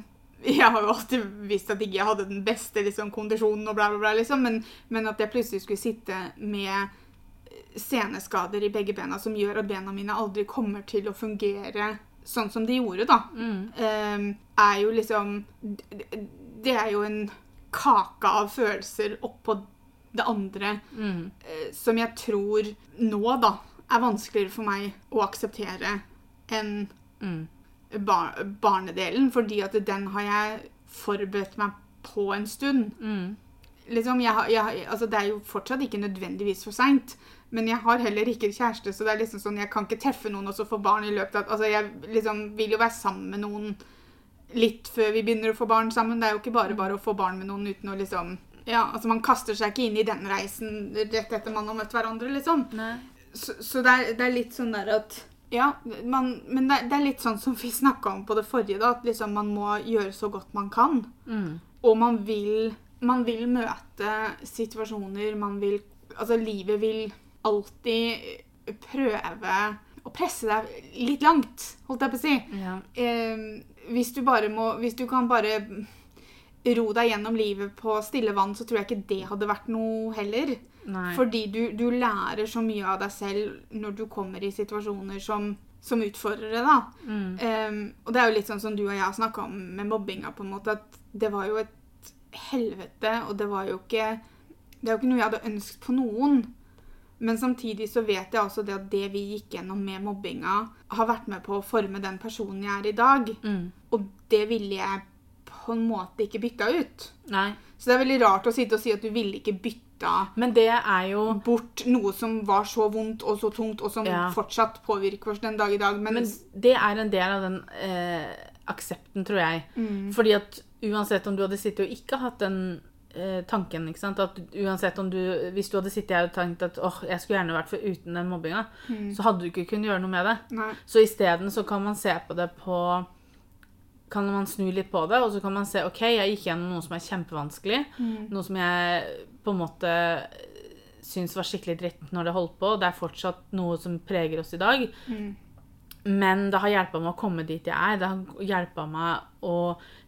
Speaker 2: Jeg har jo alltid visst at ikke jeg hadde den beste liksom, kondisjonen, og bla, bla, bla, liksom, men, men at jeg plutselig skulle sitte med eh, seneskader i begge bena som gjør at bena mine aldri kommer til å fungere sånn som de gjorde, da,
Speaker 1: Mm.
Speaker 2: eh, er jo liksom det- Det er jo en kake av følelser oppå det andre
Speaker 1: Mm.
Speaker 2: eh, som jeg tror nå, da, er vanskeligere for meg å akseptere enn
Speaker 1: Mm.
Speaker 2: bar barnedelen, fordi at den har jeg forberedt meg på en stund.
Speaker 1: Mm.
Speaker 2: Liksom, jeg, har- jeg, har- altså, det er jo fortsatt ikke nødvendigvis for seint, men jeg har heller ikke kjæreste, så det er liksom sånn, jeg kan ikke treffe noen og så få barn i løpet av altså, Jeg liksom, vil jo være sammen med noen litt før vi begynner å få barn sammen. Det er jo ikke bare bare å få barn med noen uten å liksom ja, altså Man kaster seg ikke inn i den reisen rett etter man har møtt hverandre, liksom.
Speaker 1: Nei.
Speaker 2: Så, så det, er, det er litt sånn der at Ja, man, men det, er- det er litt sånn som vi snakka om på det forrige, da, at liksom man må gjøre så godt man kan.
Speaker 1: Mm.
Speaker 2: Og man vil, man vil møte situasjoner, man vil Altså, livet vil alltid prøve å presse deg litt langt, holdt jeg på å si.
Speaker 1: Ja.
Speaker 2: Eh, hvis du bare må Hvis du kan bare ro deg gjennom livet på stille vann, så tror jeg ikke det hadde vært noe heller.
Speaker 1: Nei.
Speaker 2: Fordi du, du lærer så mye av deg selv når du kommer i situasjoner som, som utfordrere, da.
Speaker 1: Mm.
Speaker 2: Ehm, og det er jo litt sånn som du og jeg har snakka om med mobbinga, på en måte, at det var jo et helvete, og det var jo ikke Det er jo ikke noe jeg hadde ønsket på noen. Men samtidig så vet jeg også det at det vi gikk gjennom med mobbinga, har vært med på å forme den personen jeg er i dag.
Speaker 1: Mm.
Speaker 2: Og det ville jeg på en måte ikke bytta ut.
Speaker 1: Nei.
Speaker 2: Så det er veldig rart å sitte og si at du ville ikke bytta
Speaker 1: Men det er jo
Speaker 2: bort noe som var så vondt og så tungt, og som
Speaker 1: Ja.
Speaker 2: fortsatt påvirker oss den dag i dag. Men,
Speaker 1: Men det er en del av den eh, aksepten, tror jeg.
Speaker 2: Mm.
Speaker 1: Fordi at uansett om du hadde sittet og ikke hatt den eh, tanken ikke sant? At uansett om du, Hvis du hadde sittet her og tenkt at åh, jeg skulle gjerne vært foruten den mobbinga, så hadde du ikke kunnet gjøre noe med det.
Speaker 2: nei.
Speaker 1: Så isteden så kan man se på det på Kan man snu litt på det, og så kan man se OK, jeg gikk gjennom noe som er kjempevanskelig. Noe som jeg på en måte syns var skikkelig dritt når det holdt på. Det er fortsatt noe som preger oss i dag. Men det har hjulpet meg å komme dit jeg er. Det har hjulpet meg å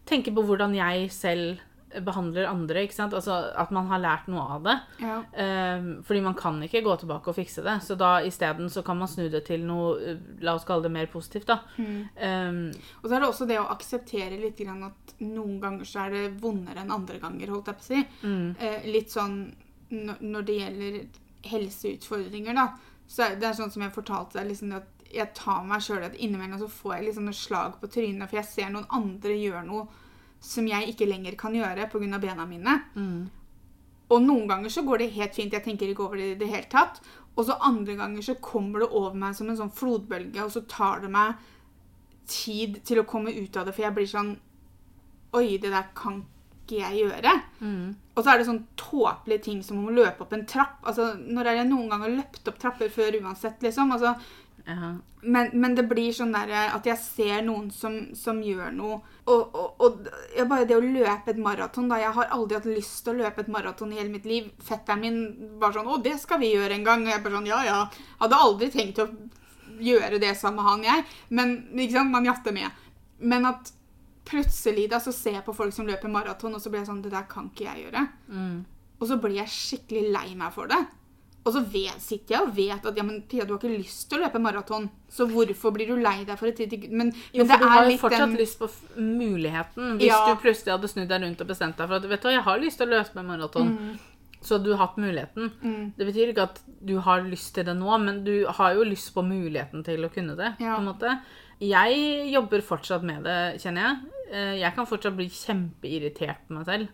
Speaker 1: tenke på hvordan jeg selv behandler andre. ikke sant? Altså At man har lært noe av det.
Speaker 2: Ja.
Speaker 1: Ehm, fordi man kan ikke gå tilbake og fikse det. Så da isteden så kan man snu det til noe eh, La oss kalle det mer positivt, da. Ehm,
Speaker 2: Og så er det også det å akseptere litt grann at noen ganger så er det vondere enn andre ganger, holdt jeg på å si.
Speaker 1: mm,
Speaker 2: Eh, litt sånn når, når det gjelder helseutfordringer, da. Så er det er sånn som jeg fortalte deg, liksom at jeg tar meg sjøl at innimellom så får jeg liksom noen slag på trynet, for jeg ser noen andre gjøre noe som jeg ikke lenger kan gjøre pga. bena mine.
Speaker 1: mm,
Speaker 2: Og noen ganger så går det helt fint, jeg tenker ikke over det i det hele tatt. Og så andre ganger så kommer det over meg som en sånn flodbølge, og så tar det meg tid til å komme ut av det, for jeg blir sånn Oi, det der kan ikke jeg gjøre.
Speaker 1: mm.
Speaker 2: Og så er det sånn tåpelige ting som å løpe opp en trapp. Altså, når er det jeg noen gang har løpt opp trapper før uansett, liksom? Altså,
Speaker 1: ja.
Speaker 2: men, men det blir sånn der at jeg ser noen som, som gjør noe. Og, og, og d- ja, bare det å løpe et maraton, da. Jeg har aldri hatt lyst til å løpe et maraton i hele mitt liv. Fetteren min bare sånn 'Å, det skal vi gjøre en gang.' Og jeg bare sånn 'Ja, ja'. Hadde aldri tenkt å gjøre det sammen med han, jeg. Men ikke sant, man jatter med. Men at plutselig da så ser jeg på folk som løper maraton, og så blir jeg sånn 'Det der kan ikke jeg gjøre'.
Speaker 1: Mm.
Speaker 2: Og så blir jeg skikkelig lei meg for det. Og så vet, sitter jeg og vet at ja, men Pia, du har ikke lyst til å løpe maraton, så hvorfor blir du lei deg for et tidlig Men,
Speaker 1: Jo,
Speaker 2: men
Speaker 1: for
Speaker 2: det
Speaker 1: du har
Speaker 2: er
Speaker 1: jo
Speaker 2: litt
Speaker 1: fortsatt
Speaker 2: den
Speaker 1: lyst på f muligheten. Hvis
Speaker 2: Ja.
Speaker 1: du plutselig hadde snudd deg rundt og bestemt deg for at vet du hva, jeg har lyst til å løpe med maraton, så hadde du hatt muligheten. Det betyr ikke at du har lyst til det nå, men du har jo lyst på muligheten til å kunne det.
Speaker 2: Ja.
Speaker 1: på en måte. Jeg jobber fortsatt med det, kjenner jeg. Eh, Jeg kan fortsatt bli kjempeirritert på meg selv.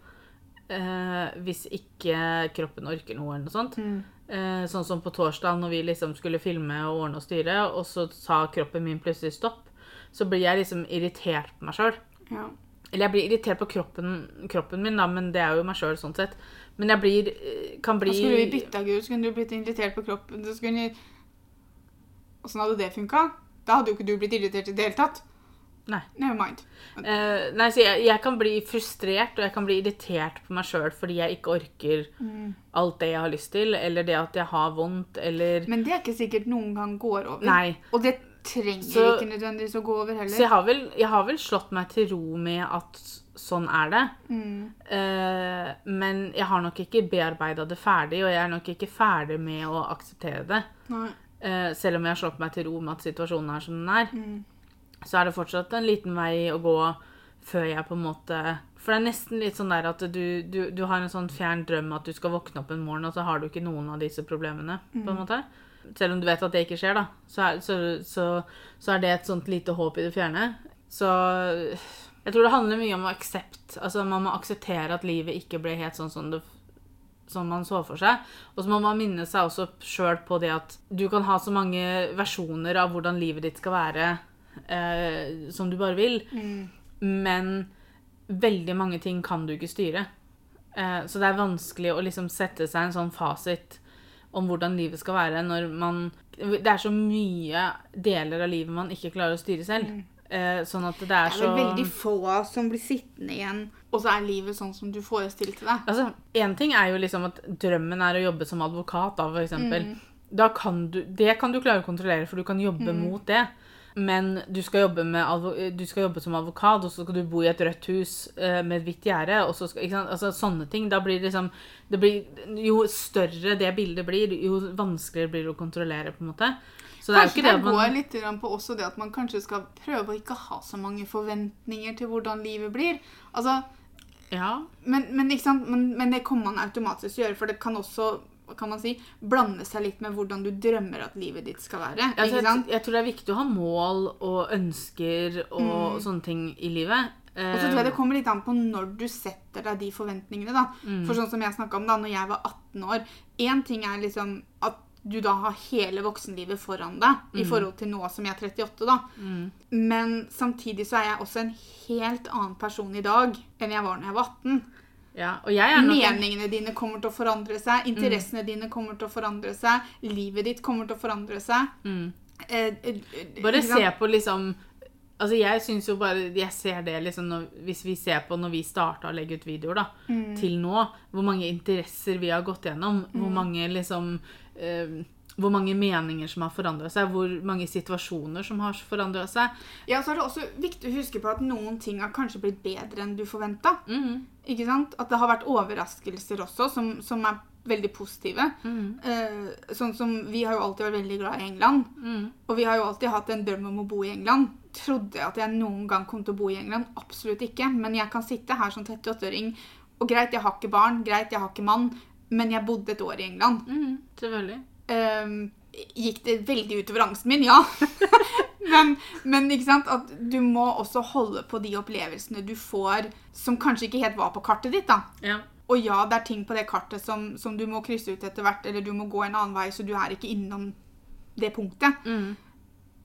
Speaker 1: eh, hvis ikke kroppen orker noe eller noe sånt.
Speaker 2: Mm.
Speaker 1: Eh, sånn som på torsdag når vi liksom skulle filme og ordne og styre, og så sa kroppen min plutselig stopp, så blir jeg liksom irritert på meg sjøl.
Speaker 2: ja.
Speaker 1: Eller jeg blir irritert på kroppen, kroppen min, da, men det er jo meg sjøl sånn sett. Men jeg blir eh, kan
Speaker 2: Da
Speaker 1: bli
Speaker 2: Skulle vi bytta gud, så kunne du blitt irritert på kroppen. Så skulle Åssen hadde det funka? Da hadde jo ikke du blitt irritert i det hele tatt.
Speaker 1: Nei.
Speaker 2: Never mind.
Speaker 1: Eh, nei, så jeg, jeg kan bli frustrert og jeg kan bli irritert på meg sjøl fordi jeg ikke orker
Speaker 2: Mm.
Speaker 1: alt det jeg har lyst til, eller det at jeg har vondt, eller
Speaker 2: Men det er ikke sikkert noen gang går over.
Speaker 1: Nei.
Speaker 2: Og det trenger
Speaker 1: Så-
Speaker 2: ikke nødvendigvis å gå over heller.
Speaker 1: Så jeg har, vel, jeg har vel slått meg til ro med at sånn er det.
Speaker 2: Mm.
Speaker 1: Eh, men jeg har nok ikke bearbeida det ferdig, og jeg er nok ikke ferdig med å akseptere det.
Speaker 2: Nei.
Speaker 1: Eh, selv om jeg har slått meg til ro med at situasjonen er som den er,
Speaker 2: Mm.
Speaker 1: så er det fortsatt en liten vei å gå før jeg på en måte For det er nesten litt sånn der at du, du, du har en sånn fjern drøm at du skal våkne opp en morgen, og så har du ikke noen av disse problemene, på en måte. Selv om du vet at det ikke skjer, da. Så er, så, så, så er det et sånt lite håp i det fjerne. Så jeg tror det handler mye om å aksept. Altså, man må akseptere at livet ikke ble helt sånn som det som man så for seg. Og så må man minne seg også sjøl på det at du kan ha så mange versjoner av hvordan livet ditt skal være eh, som du bare vil,
Speaker 2: Mm.
Speaker 1: men veldig mange ting kan du ikke styre. Eh, så det er vanskelig å liksom sette seg en sånn fasit om hvordan livet skal være når man Det er så mye deler av livet man ikke klarer å styre selv. Eh, sånn at det er
Speaker 3: Det er
Speaker 1: så
Speaker 3: vel veldig få av oss som blir sittende igjen.
Speaker 2: Og så er livet sånn som du forestilte deg.
Speaker 1: Altså, en ting er jo liksom at drømmen er å jobbe som advokat, da, for eksempel.
Speaker 2: Mm.
Speaker 1: Da kan du, det kan du klare å kontrollere, for du kan jobbe mot det. Men du skal, jobbe med advo- du skal jobbe som advokat, og så skal du bo i et rødt hus eh, med et hvitt gjerde. og så skal- ikke sant? Altså, sånne ting. Da blir det liksom det blir, Jo større det bildet blir, jo vanskeligere blir det å kontrollere, på en måte. Så det er jo
Speaker 2: Kanskje
Speaker 1: ikke
Speaker 2: det,
Speaker 1: det at
Speaker 2: går
Speaker 1: man
Speaker 2: litt grann på også det at man kanskje skal prøve å ikke ha så mange forventninger til hvordan livet blir. Altså,
Speaker 1: Ja.
Speaker 2: men, men, ikke sant? Men, men det kan man automatisk gjøre, for det kan også hva kan man si, blande seg litt med hvordan du drømmer at livet ditt skal være.
Speaker 1: Ja, altså,
Speaker 2: ikke
Speaker 1: jeg,
Speaker 2: sant?
Speaker 1: jeg tror det er viktig å ha mål og ønsker og sånne ting i livet.
Speaker 2: Mm. Og så tror jeg det kommer litt an på når du setter deg de forventningene. da.
Speaker 1: Mm.
Speaker 2: For sånn som jeg snakka om da når jeg var 18 år Én ting er liksom at du da har hele voksenlivet foran deg
Speaker 1: Mm.
Speaker 2: i forhold til nå som jeg er 38, da. Men samtidig så er jeg også en helt annen person i dag enn jeg var når jeg var 18.
Speaker 1: Eh, Ja, og jeg er nok Mm. en-
Speaker 2: Meningene dine kommer til å forandre seg, interessene dine kommer til å forandre seg, livet ditt kommer til å forandre seg. Eh, eh, eh,
Speaker 1: Mm. Bare
Speaker 2: ikke sant?
Speaker 1: se på liksom Altså jeg synes jo bare Jeg ser det liksom når, Hvis vi ser på når vi starta å legge ut videoer, da,
Speaker 2: Mm.
Speaker 1: til nå, hvor mange interesser vi har gått gjennom, hvor mange liksom eh, hvor mange meninger som har forandra seg, hvor mange situasjoner som har forandra seg.
Speaker 2: Ja, så er det også viktig å huske på at noen ting har kanskje blitt bedre enn du forventa.
Speaker 1: Mm,
Speaker 2: Ikke sant? At det har vært overraskelser også, som, som er veldig positive. Eh, sånn som Vi har jo alltid vært veldig glad i England.
Speaker 1: mm,
Speaker 2: Og vi har jo alltid hatt en drøm om å bo i England. Trodde jeg at jeg noen gang kom til å bo i England? Absolutt ikke. Men jeg kan sitte her som 38-åring, og greit, jeg har ikke barn, greit, jeg har ikke mann, men jeg bodde et år i England.
Speaker 1: Selvfølgelig.
Speaker 2: Ehm, gikk det veldig utover angsten min, ja. men, men ikke sant, at du må også holde på de opplevelsene du får som kanskje ikke helt var på kartet ditt. da.
Speaker 1: Ja.
Speaker 2: Og ja, det er ting på det kartet som, som du må krysse ut etter hvert, eller du må gå en annen vei, så du er ikke innom det punktet.
Speaker 1: Mm.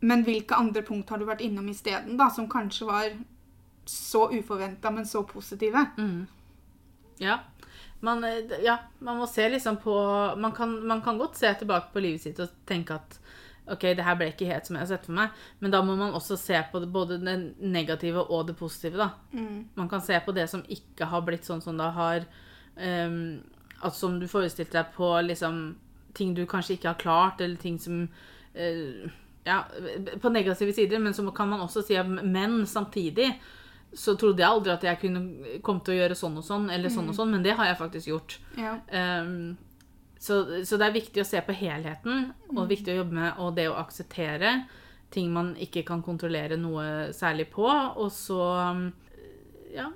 Speaker 2: Men hvilke andre punkt har du vært innom isteden, da, som kanskje var så uforventa, men så positive?
Speaker 3: Mm.
Speaker 1: Ja. Man, eh, d- ja, man må se liksom på man kan, man kan godt se tilbake på livet sitt og tenke at OK, det her ble ikke helt som jeg har sett for meg, men da må man også se på det, både det negative og det positive, da. Man kan se på det som ikke har blitt sånn som det har ehm, At som du forestilte deg på liksom ting du kanskje ikke har klart, eller ting som eh, Ja, på negative sider, men så kan man også si at men samtidig så trodde jeg aldri at jeg kunne komme til å gjøre sånn og sånn, eller sånn og sånn, men det har jeg faktisk gjort.
Speaker 2: Ja.
Speaker 1: Ehm, så, så det er viktig å se på helheten, og viktig å jobbe med og det å akseptere ting man ikke kan kontrollere noe særlig på, og så eh, ja,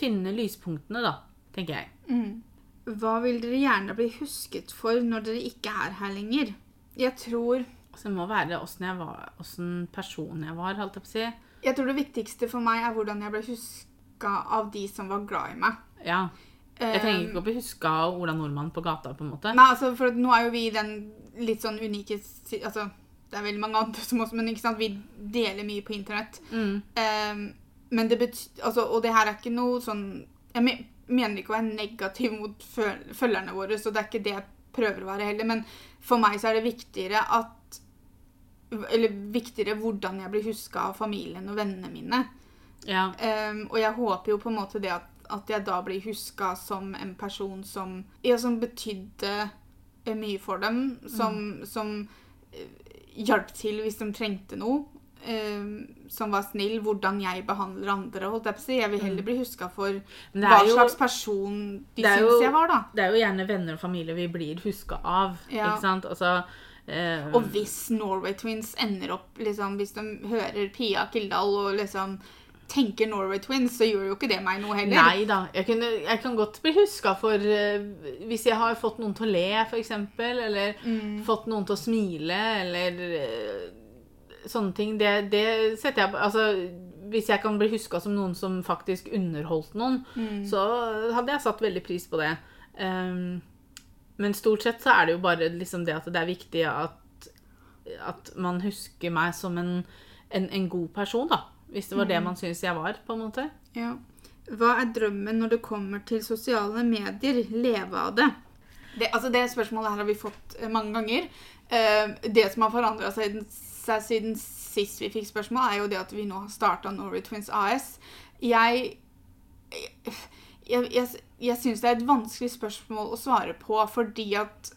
Speaker 1: finne lyspunktene, da, tenker jeg.
Speaker 3: Hva vil dere gjerne bli husket for når dere ikke er her lenger?
Speaker 2: Jeg tror
Speaker 1: Så det må være åssen jeg var, åssen person jeg var, holdt jeg på å si.
Speaker 2: Jeg tror det viktigste for meg er hvordan jeg ble huska av de som var glad i meg.
Speaker 1: Ja. Jeg trenger
Speaker 2: Eh,
Speaker 1: ikke å bli huska av Ola Nordmann på gata, på en måte.
Speaker 2: Nei, altså, for at nå er jo vi i den litt sånn unike si- Altså, det er veldig mange andre som også, men ikke sant, vi deler mye på internett.
Speaker 1: Mm.
Speaker 2: Ehm, men det betyr altså, Og det her er ikke noe sånn Jeg me mener ikke å være negativ mot føl følgerne våre, så det er ikke det jeg prøver å være heller, men for meg så er det viktigere at Eller viktigere hvordan jeg blir huska av familien og vennene mine.
Speaker 1: Ja.
Speaker 2: Ehm, og jeg håper jo på en måte det at, at jeg da blir huska som en person som, ja, som betydde eh, mye for dem. Som,
Speaker 1: Mm.
Speaker 2: som eh, hjalp til hvis de trengte noe. ehm, som var snill. Hvordan jeg behandler andre. Holdt jeg, på å si. jeg vil heller bli huska for
Speaker 1: Mm. Men det
Speaker 2: hva
Speaker 1: er jo-
Speaker 2: slags person de
Speaker 1: det er
Speaker 2: syns
Speaker 1: jo-
Speaker 2: jeg var, da.
Speaker 1: Det er jo gjerne venner og familie vi blir huska av,
Speaker 2: Ja.
Speaker 1: ikke sant? Altså eh,
Speaker 2: Og hvis Norway Twins ender opp liksom, Hvis de hører Pia Kildahl og liksom tenker Norway Twins, så gjør jo ikke det meg noe heller.
Speaker 1: Nei da. Jeg, kunne, jeg kan godt bli huska for eh, Hvis jeg har fått noen til å le, f.eks., eller fått noen til å smile, eller eh, sånne ting. Det, det setter jeg Altså, hvis jeg kan bli huska som noen som faktisk underholdt noen, så hadde jeg satt veldig pris på det. Ehm, men stort sett så er det jo bare liksom det at det er viktig at, at man husker meg som en, en, en god person, da. Hvis det var det man syns jeg var, på en måte.
Speaker 2: Ja.
Speaker 3: Hva er drømmen når det kommer til sosiale medier? Leve av det.
Speaker 2: Det, altså det spørsmålet her har vi fått eh, mange ganger. Eh, det som har forandra seg, seg siden sist vi fikk spørsmål, er jo det at vi nå har starta Norway Twins AS. Jeg jeg, jeg, jeg syns det er et vanskelig spørsmål å svare på, fordi at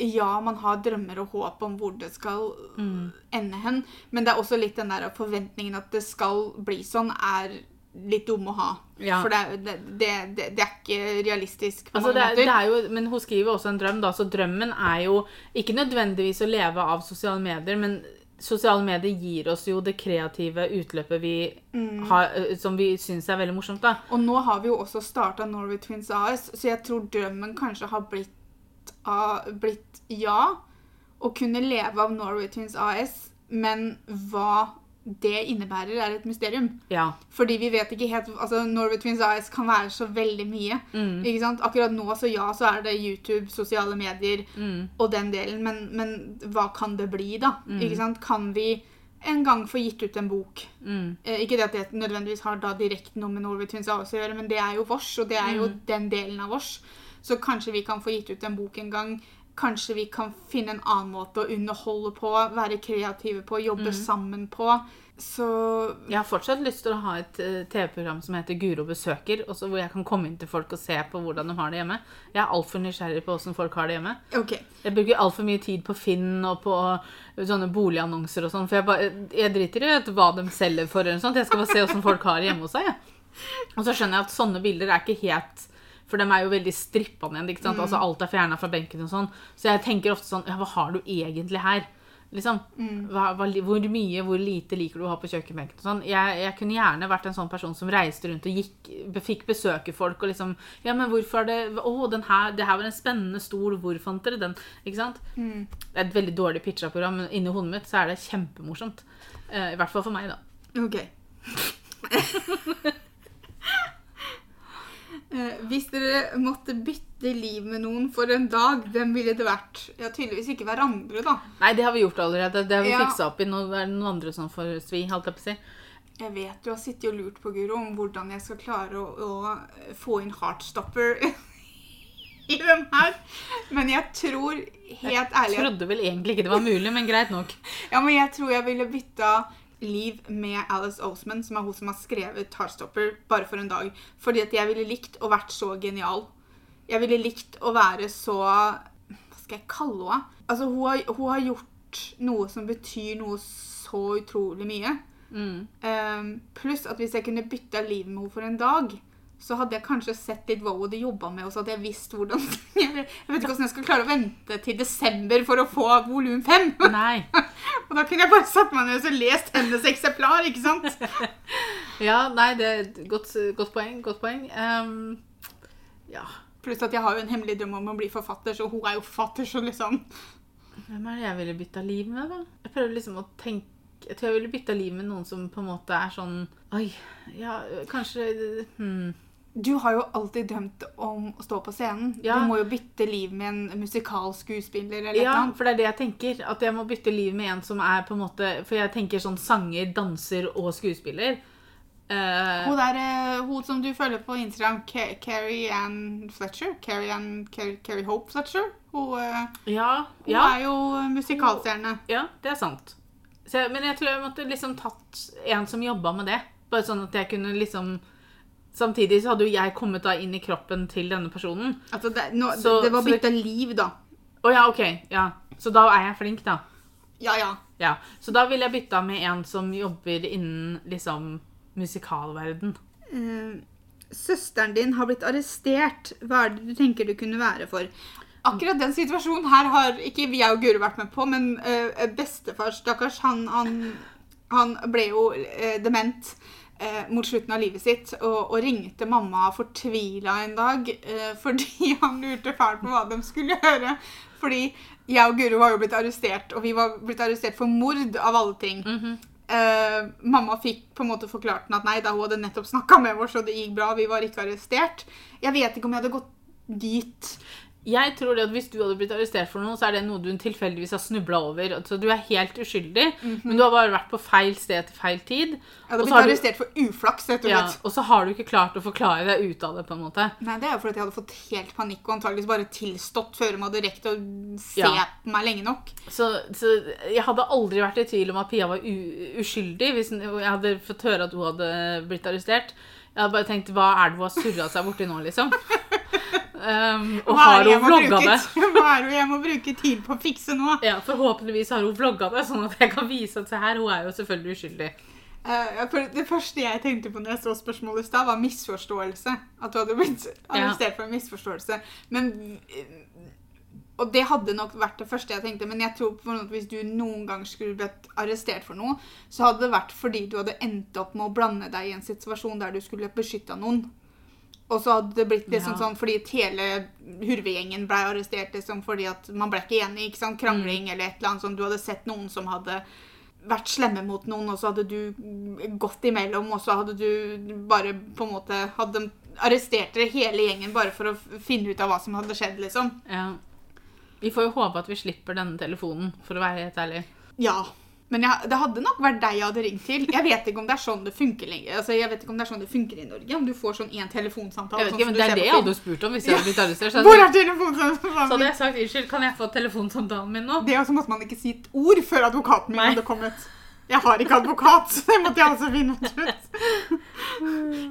Speaker 2: ja, man har drømmer og håp om hvor det skal
Speaker 1: Mm.
Speaker 2: ende hen, men det er også litt den der forventningen at det skal bli sånn, er litt dum å ha.
Speaker 1: Ja.
Speaker 2: For det, er- det, det, det, det er ikke realistisk på
Speaker 1: Altså, det
Speaker 2: mange
Speaker 1: er,
Speaker 2: måter.
Speaker 1: det er jo, men hun skriver også en drøm, da, så drømmen er jo ikke nødvendigvis å leve av sosiale medier, men sosiale medier gir oss jo det kreative utløpet vi har, ø, som vi syns er veldig morsomt. da.
Speaker 2: Og nå har vi jo også starta Norway Twins AS, så jeg tror drømmen kanskje har blitt, av, blitt ja, å kunne leve av Norway Twins AS, men hva det innebærer, er et mysterium.
Speaker 1: Ja.
Speaker 2: Fordi vi vet ikke helt altså Norway Twins AS kan være så veldig mye. ikke sant? Akkurat nå, så ja, så er det YouTube, sosiale medier og den delen. Men, men hva kan det bli, da? ikke sant? Kan vi en gang få gitt ut en bok? Eh, ikke det at det nødvendigvis har da direkte noe med Norway Twins AS å gjøre, men det er jo vårs, og det er jo den delen av vårs. Så kanskje vi kan få gitt ut en bok en gang. Kanskje vi kan finne en annen måte å underholde på, være kreative på, jobbe sammen på. Så
Speaker 1: Jeg har fortsatt lyst til å ha et eh, TV-program som heter Guro besøker, også hvor jeg kan komme inn til folk og se på hvordan de har det hjemme. Jeg er altfor nysgjerrig på hvordan folk har det hjemme.
Speaker 2: OK.
Speaker 1: Jeg bruker altfor mye tid på Finn og på sånne boligannonser og sånn, for jeg, bare, jeg driter i vet, hva de selger for eller noe sånt. Jeg skal bare se hvordan folk har det hjemme hos seg. jeg. Og så skjønner jeg at sånne bilder er ikke helt For de er jo veldig strippa ned. ikke sant? Altså Alt er fjerna fra benken og sånn. Så jeg tenker ofte sånn Ja, hva har du egentlig her? Liksom, hva, hva, li- Hvor mye, hvor lite liker du å ha på kjøkkenbenken? og Sånn. Jeg, jeg kunne gjerne vært en sånn person som reiste rundt og gikk, be- fikk besøke folk og liksom Ja, men hvorfor er det Å, den her, det her var en spennende stol, hvor fant dere den? Ikke sant? Det er et veldig dårlig pitcha program, men inni hodet mitt så er det kjempemorsomt. Eh, I hvert fall for meg, da.
Speaker 2: ok.
Speaker 3: Eh, hvis dere måtte bytte liv med noen for en dag, hvem ville det vært?
Speaker 2: Ja, tydeligvis ikke hverandre, da.
Speaker 1: Nei, det har vi gjort allerede. Det har vi
Speaker 2: Ja.
Speaker 1: fiksa opp i. Nå er det noen andre som får svi, holdt jeg på å si.
Speaker 2: Jeg vet du har sittet og lurt på, Guro, om hvordan jeg skal klare å, å få inn Heartstopper i den her. Men jeg tror, helt ærlig at-
Speaker 1: Trodde vel egentlig ikke det var mulig, men greit nok.
Speaker 2: Ja, men jeg tror jeg ville bytta liv med Alice Osman, som er hun som har skrevet Heartstopper, bare for en dag. Fordi at jeg ville likt å vært så genial. Jeg ville likt å være så Hva skal jeg kalle henne? Altså, hun har, hun har gjort noe som betyr noe så utrolig mye.
Speaker 1: Mm.
Speaker 2: Ehm, pluss at hvis jeg kunne bytta liv med henne for en dag, så hadde jeg kanskje sett litt hva hun jobba med, og så hadde jeg visst hvordan Jeg vet ikke hvordan jeg skal klare å vente til desember for å få volum fem.
Speaker 1: Nei.
Speaker 2: Og da kunne jeg bare satt meg ned og så lest hennes eksemplar, ikke sant?
Speaker 1: Ja, nei, det er et godt, godt poeng. Godt poeng. Ehm, ja
Speaker 2: Pluss at jeg har jo en hemmelig drøm om å bli forfatter, så hun er jo forfatter, så liksom
Speaker 1: Hvem er det jeg ville bytta liv med, da? Jeg prøver liksom å tenke Jeg tror jeg ville bytta liv med noen som på en måte er sånn Oi, ja, kanskje hmm.
Speaker 2: Du har jo alltid drømt om å stå på scenen.
Speaker 1: Ja.
Speaker 2: Du må jo bytte liv med en musikalskuespiller eller
Speaker 1: Ja,
Speaker 2: noe.
Speaker 1: for det er det jeg tenker. At jeg må bytte liv med en som er på en måte For jeg tenker sånn sanger, danser og skuespiller. Eh,
Speaker 2: Hun der, eh, hun som du følger på Instagram, Ca- Carrie Ann Fletcher? Carrie Ann Carrie, Carrie Hope Fletcher? Hun, eh,
Speaker 1: ja,
Speaker 2: hun
Speaker 1: ja,
Speaker 2: er jo musikalstjerne.
Speaker 1: ja, det er sant. Så, jeg- men jeg tror jeg måtte liksom tatt en som jobba med det. Bare sånn at jeg kunne liksom Samtidig så hadde jo jeg kommet da inn i kroppen til denne personen.
Speaker 2: Altså, det, nå, det,
Speaker 1: Så-
Speaker 2: det var
Speaker 1: så det-
Speaker 2: bytte liv, da.
Speaker 1: Å ja, OK. Ja. Så da er jeg flink, da.
Speaker 2: Ja, ja.
Speaker 1: Ja. Så da ville jeg bytta med en som jobber innen liksom musikalverden.
Speaker 3: Eh, søsteren din har blitt arrestert. Hva er det du tenker du kunne være for?
Speaker 2: Akkurat den situasjonen her har ikke vi og Guri vært med på, men eh, bestefar, stakkars, han, han, han ble jo eh, dement eh, mot slutten av livet sitt, og, og ringte mamma fortvila en dag eh, fordi han lurte fælt på hva de skulle gjøre. Fordi jeg og Guro var jo blitt arrestert, og vi var blitt arrestert for mord av alle ting. Eh, mamma fikk på en måte forklart den at nei, da hun hadde nettopp snakka med oss, og det gikk bra, vi var ikke arrestert. Jeg vet ikke om jeg hadde gått dit.
Speaker 1: Jeg tror det at Hvis du hadde blitt arrestert for noe, så er det noe du tilfeldigvis har snubla over. Altså, du er helt uskyldig, men du har bare vært på feil sted til feil tid.
Speaker 2: Mhm. Jeg
Speaker 1: og
Speaker 2: hadde
Speaker 1: så har
Speaker 2: blitt
Speaker 1: du-
Speaker 2: arrestert for uflaks, rett og
Speaker 1: Ja,
Speaker 2: slett.
Speaker 1: og så har du ikke klart å forklare deg ut av det, på en måte.
Speaker 2: Nei, Det er jo fordi jeg hadde fått helt panikk og antageligvis bare tilstått før de hadde rekt å se
Speaker 1: Ja.
Speaker 2: på meg lenge nok.
Speaker 1: Så, så jeg hadde aldri vært i tvil om at Pia var u uskyldig hvis hun- jeg hadde fått høre at hun hadde blitt arrestert. Jeg hadde bare tenkt hva er det hun har surra seg borti nå, liksom? Um, og
Speaker 2: Hva er
Speaker 1: har hun
Speaker 2: det jeg må
Speaker 1: vlogga
Speaker 2: bruke-
Speaker 1: det?
Speaker 2: Hva er det jeg må bruke tid på å fikse nå?
Speaker 1: Ja, Forhåpentligvis har hun vlogga det, sånn at jeg kan vise at se her, hun er jo selvfølgelig uskyldig.
Speaker 2: Eh, for det første jeg tenkte på når jeg så spørsmålet i stad, var misforståelse. At du hadde blitt arrestert for en misforståelse. Men eh, Og det hadde nok vært det første jeg tenkte, men jeg tror på noe at hvis du noen gang skulle blitt arrestert for noe, så hadde det vært fordi du hadde endt opp med å blande deg i en situasjon der du skulle beskytta noen. Og så hadde det blitt liksom
Speaker 1: Ja.
Speaker 2: sånn fordi at hele Hurveggjengen ble arrestert liksom fordi at man ble ikke enig, ikke sant? Krangling
Speaker 1: Mm.
Speaker 2: eller et eller annet sånt. Du hadde sett noen som hadde vært slemme mot noen, og så hadde du mm, gått imellom, og så hadde du bare på en måte Hadde de arrestert dere hele gjengen bare for å f- finne ut av hva som hadde skjedd, liksom.
Speaker 1: Ja. Vi får jo håpe at vi slipper denne telefonen, for å være helt ærlig.
Speaker 2: Ja. Men jeg, det hadde nok vært deg jeg hadde ringt til. Jeg vet ikke om det er sånn det funker lenger. Altså, jeg vet ikke om det er sånn det funker i Norge. Om du får sånn én telefonsamtale.
Speaker 1: Jeg vet
Speaker 2: sånn
Speaker 1: ikke, men
Speaker 2: som
Speaker 1: Det
Speaker 2: du ser
Speaker 1: er
Speaker 2: på
Speaker 1: det jeg
Speaker 2: film.
Speaker 1: hadde spurt om hvis jeg hadde blitt arrestert. Så hadde,
Speaker 2: Hvor er
Speaker 1: så hadde
Speaker 2: telefonsamtalen?
Speaker 1: jeg sagt unnskyld, kan jeg få telefonsamtalen min nå?
Speaker 2: Det også måtte man ikke si et ord før advokaten min
Speaker 1: Nei.
Speaker 2: hadde kommet. Jeg har ikke advokat, så det måtte jeg også finne ut.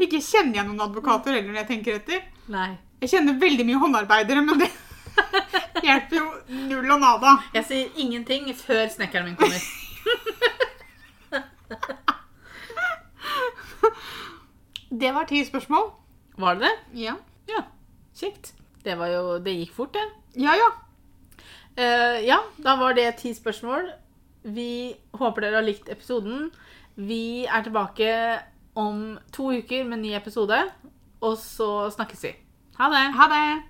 Speaker 2: Ikke kjenner jeg noen advokater heller når jeg tenker etter.
Speaker 1: Nei.
Speaker 2: Jeg kjenner veldig mye håndarbeidere, men det hjelper jo null og nada.
Speaker 1: Jeg sier ingenting før snekkeren min kommer.
Speaker 2: Det var ti spørsmål.
Speaker 1: Var det det?
Speaker 2: Ja.
Speaker 1: Ja. Kjekt. Det var jo Det gikk fort, det.
Speaker 2: Ja, ja.
Speaker 1: Eh, ja, da var det ti spørsmål. Vi håper dere har likt episoden. Vi er tilbake om to uker med en ny episode, og så snakkes vi. Ha det!
Speaker 2: Ha det.